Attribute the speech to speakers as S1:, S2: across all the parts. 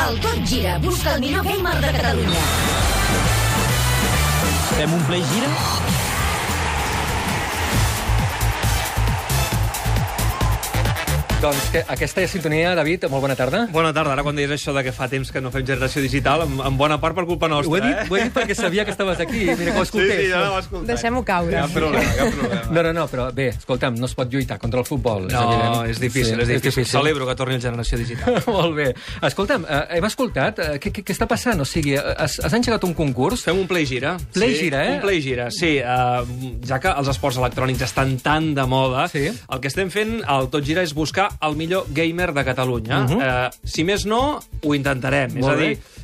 S1: El Tot Gira busca el millor gamer de Catalunya.
S2: Fem un play gira?
S3: Doncs que, aquesta és sintonia, David, molt bona tarda.
S4: Bona tarda. Ara quan deies això de que fa temps que no fem generació digital, en, en bona part per culpa nostra,
S3: Ho he, dit,
S4: eh?
S3: ho he dit perquè sabia que estaves aquí, mira que ho
S4: Sí,
S3: escoltés.
S4: sí, ja l'ho escoltat.
S5: Deixem-ho caure.
S4: Cap problema, cap problema.
S3: No, no, no, però bé, escolta'm, no es pot lluitar contra el futbol. és
S4: No,
S3: evident.
S4: Ah, és difícil, és difícil. Celebro que torni la generació digital.
S3: Molt bé. Escolta'm, eh, hem escoltat, eh, què, què, què està passant? O sigui, eh, has, has engegat un concurs?
S4: Fem un play gira.
S3: Play
S4: sí,
S3: gira, eh?
S4: Un play gira, sí. Uh, ja que els esports electrònics estan tan de moda,
S3: Sí.
S4: el que estem fent al Tot Gira és buscar el millor gamer de Catalunya. uh, si més no, ho intentarem.
S3: Molt
S4: és a
S3: bé.
S4: dir,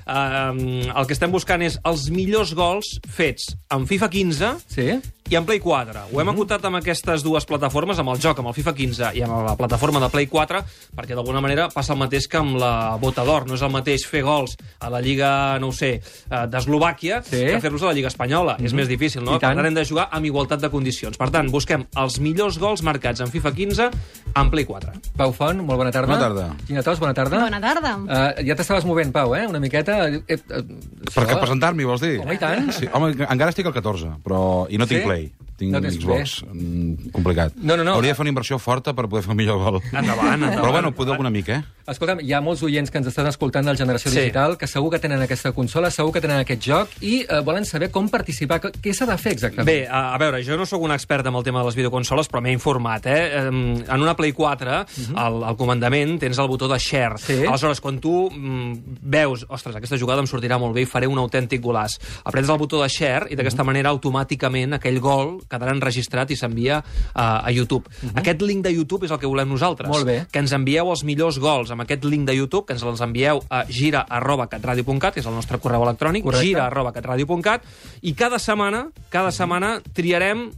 S4: uh, el que estem buscant és els millors gols fets en FIFA 15
S3: Sí?
S4: i en Play 4.
S3: Mhm.
S4: Ho hem acotat amb aquestes dues plataformes, amb el joc, amb el FIFA 15 i amb la plataforma de Play 4, perquè d'alguna manera passa el mateix que amb la Bota d'Or. No és el mateix fer gols a la Lliga, no ho sé, eh, d'Eslovàquia
S3: Sí. Mhm.
S4: que fer-los a la Lliga Espanyola. És més difícil, no?
S3: I tant.
S4: Per tant, hem de jugar amb igualtat de condicions. Per tant, busquem els millors gols marcats en FIFA 15 en Play 4.
S3: Pau Font, molt bona tarda.
S6: Bona tarda.
S3: Quina tos, bona tarda.
S5: Bona tarda.
S3: Uh, ja t'estaves movent, Pau, eh? Una miqueta... Eh, eh,
S6: Perquè
S3: això-
S6: presentar-m'hi, vols dir?
S3: Home, i tant.
S6: Sí, home, encara estic al 14, però... I no tinc
S3: Sí?
S6: Play. Tinc
S3: No tens
S6: Xbox. Mm, complicat.
S3: No, no, no.
S6: Hauria de fer una inversió forta per poder fer un millor gol.
S4: Endavant, endavant.
S6: Però bueno, podeu una mica, eh?
S3: Escolta'm, hi ha molts oients que ens estan escoltant de la generació
S4: Sí.
S3: digital que segur que tenen aquesta consola, segur que tenen aquest joc i eh, volen saber com participar. Què- Què s'ha de fer exactament?
S4: Bé, a, a veure, jo no sóc un expert amb el tema de les videoconsoles, però m'he informat, eh? Em, En una Play 4, al, al comandament, tens el botó de share.
S3: Mhm. Sí.
S4: Aleshores, quan tu mm, veus, ostres, aquesta jugada em sortirà molt bé i faré un autèntic golaç, aprets el botó de share i
S3: Mhm.
S4: d'aquesta manera automàticament aquell gol quedarà enregistrat i s'envia a, a YouTube. Aquest link de YouTube és el que volem nosaltres.
S3: Mhm. Molt bé.
S4: Que ens envieu els millors gols amb aquest link de YouTube, que ens els envieu a gira.catradio.cat, que és el nostre correu electrònic,
S3: Correcte.
S4: gira arroba catradio.cat i cada setmana, cada setmana triarem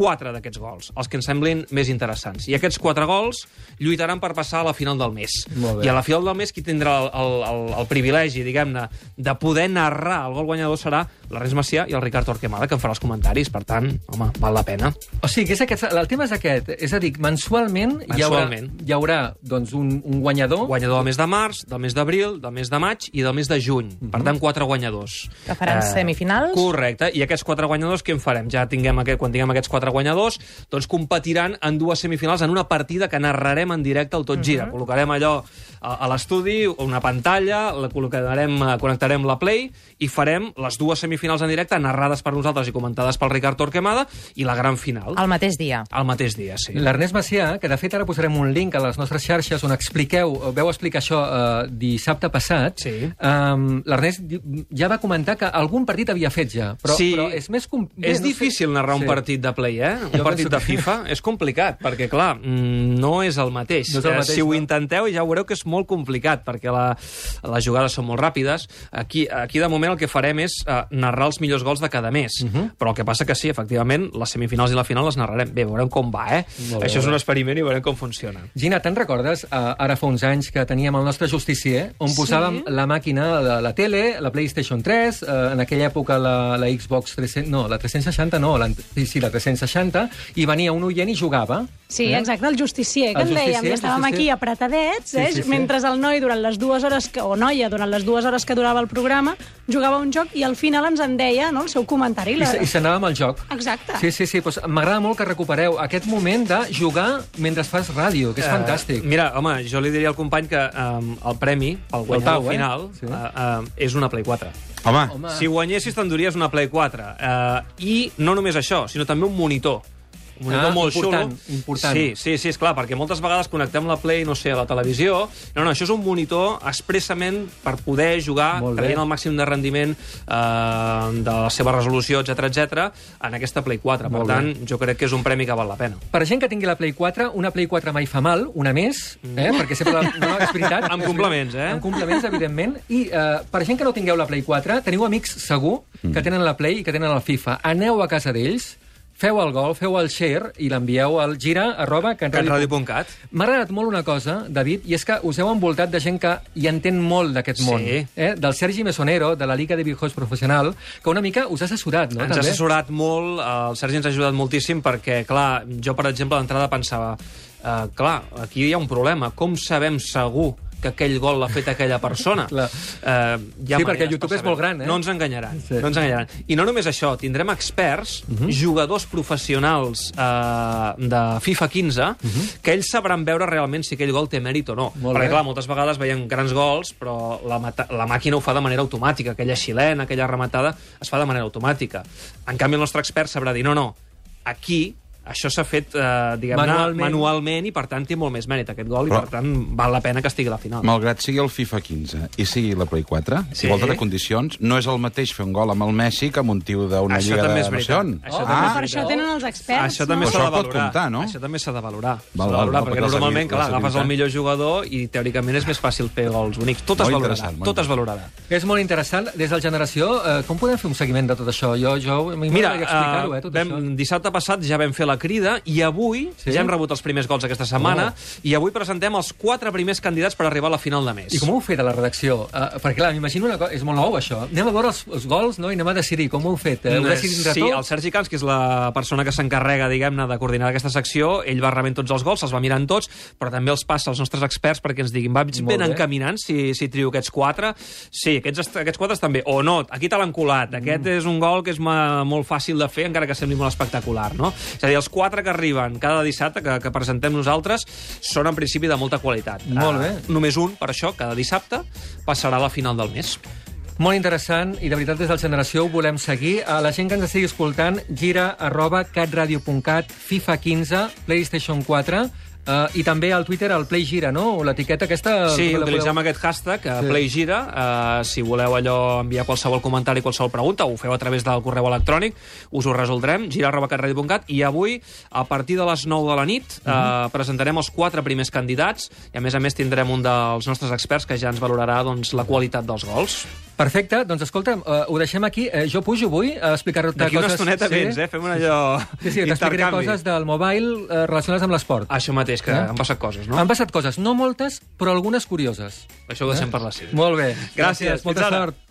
S4: quatre d'aquests gols, els que ens semblin més interessants. I aquests quatre gols lluitaran per passar a la final del mes.
S3: Molt bé.
S4: I a la final del mes qui tindrà el, el, el, el privilegi, diguem-ne, de poder narrar el gol guanyador serà l'Ernest Macià i el Ricard Torquemada, que en farà els comentaris. Per tant, home, val la pena.
S3: O sigui, que és aquest, el tema és aquest. És a dir, mensualment,
S4: Mensualment.
S3: hi haurà, hi haurà doncs, un, un guanyador.
S4: Oh. Guanyador del mes de març, del mes d'abril, del mes de maig i del mes de juny. Per tant, quatre guanyadors. Eh,
S5: Que faran semifinals.
S4: Correcte. I aquests quatre guanyadors què en farem? Ja tinguem aquest, quan tinguem aquests quatre guanyadors, doncs competiran en dues semifinals en una partida que narrarem en directe al
S5: Mhm.
S4: Tot Gira. Col·locarem allò a, a l'estudi, una pantalla, la col·locarem, eh, connectarem la Play i farem les dues semifinals en directe narrades per nosaltres i comentades pel Ricard Torquemada i la gran final.
S5: Al mateix dia.
S4: Al mateix dia, sí.
S3: L'Ernest Macià, que de fet ara posarem un link a les nostres xarxes on expliqueu, veu explicar això eh, dissabte passat,
S4: Sí.
S3: um, l'Ernest di- ja va comentar que algun partit havia fet ja, però, però és més... Com... bé,
S4: És
S3: no sé-
S4: difícil narrar un partit de play, eh? Un
S3: Jo
S4: partit
S3: penso
S4: de
S3: que-
S4: FIFA és complicat, perquè, clar, mm, no és el mateix.
S3: No és el
S4: Eh,
S3: mateix,
S4: si ho
S3: no?
S4: intenteu, ja veureu que és molt complicat, perquè la, les jugades són molt ràpides. Aquí, aquí de moment, el que farem és eh, narrar els millors gols de cada mes.
S3: Mhm.
S4: Però el que passa que sí, efectivament, les semifinals i la final les narrarem. Bé, veurem com va, eh?
S3: Molt bé.
S4: Això és un experiment i veurem com funciona.
S3: Gina, te'n recordes eh, ara fa uns anys que teníem el nostre justicier on posàvem la màquina de la tele, la PlayStation 3, eh, en aquella època la, la Xbox 300... No, la 360 no, la, sí, sí, la 360, i venia un oient i jugava. eh?
S7: Sí, exacte, el justicier, que
S3: El
S7: en dèiem.
S3: justicier,
S7: I estàvem
S3: justicier.
S7: aquí apretadets,
S3: Sí,
S7: eh?
S3: sí, sí.
S7: mentre el noi, durant les dues hores que, o noia, durant les dues hores que durava el programa, jugava a un joc i al final ens en deia no, el seu comentari.
S3: I,
S7: La...
S3: se- i s'anava amb el joc.
S7: Exacte.
S3: Sí, sí, sí. Doncs M'agrada molt que recupereu aquest moment de jugar mentre fas ràdio, que és fantàstic.
S4: Eh, mira, home, jo li diria al company que um, el premi, el guanyador
S3: Pau, eh?
S4: final,
S3: Sí.
S4: eh, eh, és una Play 4.
S6: Home,
S3: Home.
S4: Si guanyessis, t'enduries una Play 4. Uh, I no només això, sinó també un monitor. Un monitor
S3: Ah,
S4: molt
S3: important,
S4: xulo.
S3: important.
S4: Sí, sí, sí, és clar, perquè moltes vegades connectem la Play, no sé, a la televisió. No, no, això és un monitor expressament per poder jugar,
S3: Molt bé.
S4: traient el màxim de rendiment eh, de la seva resolució, etc etc, en aquesta Play 4. Per
S3: Molt
S4: tant, jo crec que és un premi que val la pena.
S3: Per gent que tingui la Play 4, una Play 4 mai fa mal, una més, eh? perquè sempre... La... No, és veritat.
S4: Mm. Amb complements, eh?
S3: Amb complements, evidentment. I eh, per gent que no tingueu la Play 4, teniu amics segur
S4: Mm.
S3: que tenen la Play i que tenen la FIFA. Aneu a casa d'ells, feu el gol, feu el share i l'envieu al gira arroba catradio.cat.
S4: Catradio.cat.
S3: M'ha agradat molt una cosa, David, i és que us heu envoltat de gent que hi entén molt d'aquest
S4: Sí.
S3: món. Eh? Del Sergi Mesonero, de la Liga de Videojocs Professional, que una mica us ha assessorat, no?
S4: Ens ha
S3: també?
S4: assessorat molt, eh, el Sergi ens ha ajudat moltíssim perquè, clar, jo, per exemple, d'entrada pensava eh, clar, aquí hi ha un problema. Com sabem segur que aquell gol l'ha fet aquella persona.
S3: Clar.
S4: Eh, hi ha
S3: Sí,
S4: maneres
S3: perquè YouTube
S4: per
S3: és molt gran, eh?
S4: No ens enganyaran.
S3: Sí.
S4: Sí. No ens enganyaran. I no només això, tindrem experts, jugadors professionals eh, de FIFA 15, que ells sabran veure realment si aquell gol té mèrit o no.
S3: Molt
S4: perquè,
S3: bé.
S4: clar, moltes vegades veiem grans gols, però la, mata- la màquina ho fa de manera automàtica. Aquella xilena, aquella rematada, es fa de manera automàtica. En canvi, el nostre expert sabrà dir, no, no, aquí això s'ha fet, eh, diguem-ne,
S3: Manualment.
S4: manualment. manualment i, per tant, té molt més mèrit aquest gol i,
S6: Però-
S4: per tant, val la pena que estigui a la final.
S6: Malgrat sigui el FIFA 15 i sigui la Play 4,
S4: Sí.
S6: sí. igualtat de condicions, no és el mateix fer un gol amb el Messi que amb un tio d'una
S4: Això
S6: lliga
S4: també
S6: de...
S4: és
S6: no sé
S4: veritat.
S6: on.
S4: Això
S7: Ah,
S4: també
S7: per
S4: és
S7: això
S4: veritat.
S7: tenen els experts,
S4: Això
S7: no?
S4: també
S6: Però
S4: s'ha de
S6: això pot
S4: valorar.
S6: comptar, no?
S4: Això també s'ha de valorar. S'ha
S6: val,
S4: de valorar
S6: val,
S4: perquè
S6: per la
S4: normalment,
S6: seguir-
S4: clar,
S6: la
S4: agafes el
S6: seguretat.
S4: millor jugador i teòricament és més fàcil fer gols bonics. Tot es
S6: Molt
S4: valorarà.
S6: interessant, molt
S4: Tot es valorarà.
S3: És molt interessant, des del Generació, eh, com podem fer un seguiment de tot això? Jo, jo, a mi
S4: Mira,
S3: m'agradaria explicar-ho, eh,
S4: eh,
S3: tot
S4: vam,
S3: això.
S4: dissabte passat ja vam fer la crida i avui
S3: Sí? Oh.
S4: sí? ja hem rebut els primers gols aquesta setmana i avui presentem els quatre primers candidats per arribar a la final de mes.
S3: I com ho heu fet a la redacció? Uh, perquè, clar, m'imagino una cosa... És molt nou, això. Anem a veure els, els gols, no? I anem a decidir com ho heu fet. Eh? Heu decidit entre
S4: sí, el
S3: tots?
S4: Sergi Camps, que és la persona que s'encarrega, diguem-ne, de coordinar aquesta secció, ell va rebent tots els gols, se'ls va mirant tots, però també els passa als nostres experts perquè ens diguin, va ben
S3: bé.
S4: encaminant si, si trio aquests quatre? Sí, aquests, est- aquests quatre estan bé. O no, aquí te l'han colat. Aquest
S3: Mm.
S4: és un gol que és ma, molt fàcil de fer, encara que sembli molt espectacular, no? És a dir, els quatre que arriben cada dissabte, que, que presentem nosaltres, són en principi de molta qualitat.
S3: Molt
S4: Ah,
S3: bé.
S4: només un, per això, cada dissabte passarà a la final del mes.
S3: Molt interessant, i de veritat des del Generació ho volem seguir. A la gent que ens estigui escoltant, gira arroba catradio.cat, FIFA 15, PlayStation 4, eh, i també al Twitter el Play Gira, no? O L'etiqueta aquesta...
S4: Sí,
S3: la podeu-
S4: utilitzem aquest hashtag, eh, sí. PlayGira. Uh, si voleu allò enviar qualsevol comentari, qualsevol pregunta, ho feu a través del correu electrònic, us ho resoldrem, gira.catradio.cat, i avui, a partir de les 9 de la nit, uh
S3: Mhm.
S4: presentarem els quatre primers candidats, i a més a més tindrem un dels nostres experts que ja ens valorarà doncs, la qualitat dels gols.
S3: Perfecte, doncs escolta, eh, ho deixem aquí. Eh, jo pujo avui a explicar-te coses...
S4: D'aquí una estoneta
S3: Sí.
S4: vens, eh? Fem un allò...
S3: Sí, sí, t'explicaré
S4: intercanvi.
S3: coses del mobile eh, relacionades amb l'esport.
S4: Això mateix, que
S3: Eh?
S4: han passat coses, no?
S3: Han passat coses, no moltes, però algunes curioses. Eh?
S4: Això ho deixem per la cinc.
S3: Molt bé.
S4: Gràcies, fins
S3: Molta
S4: ara.
S3: sort.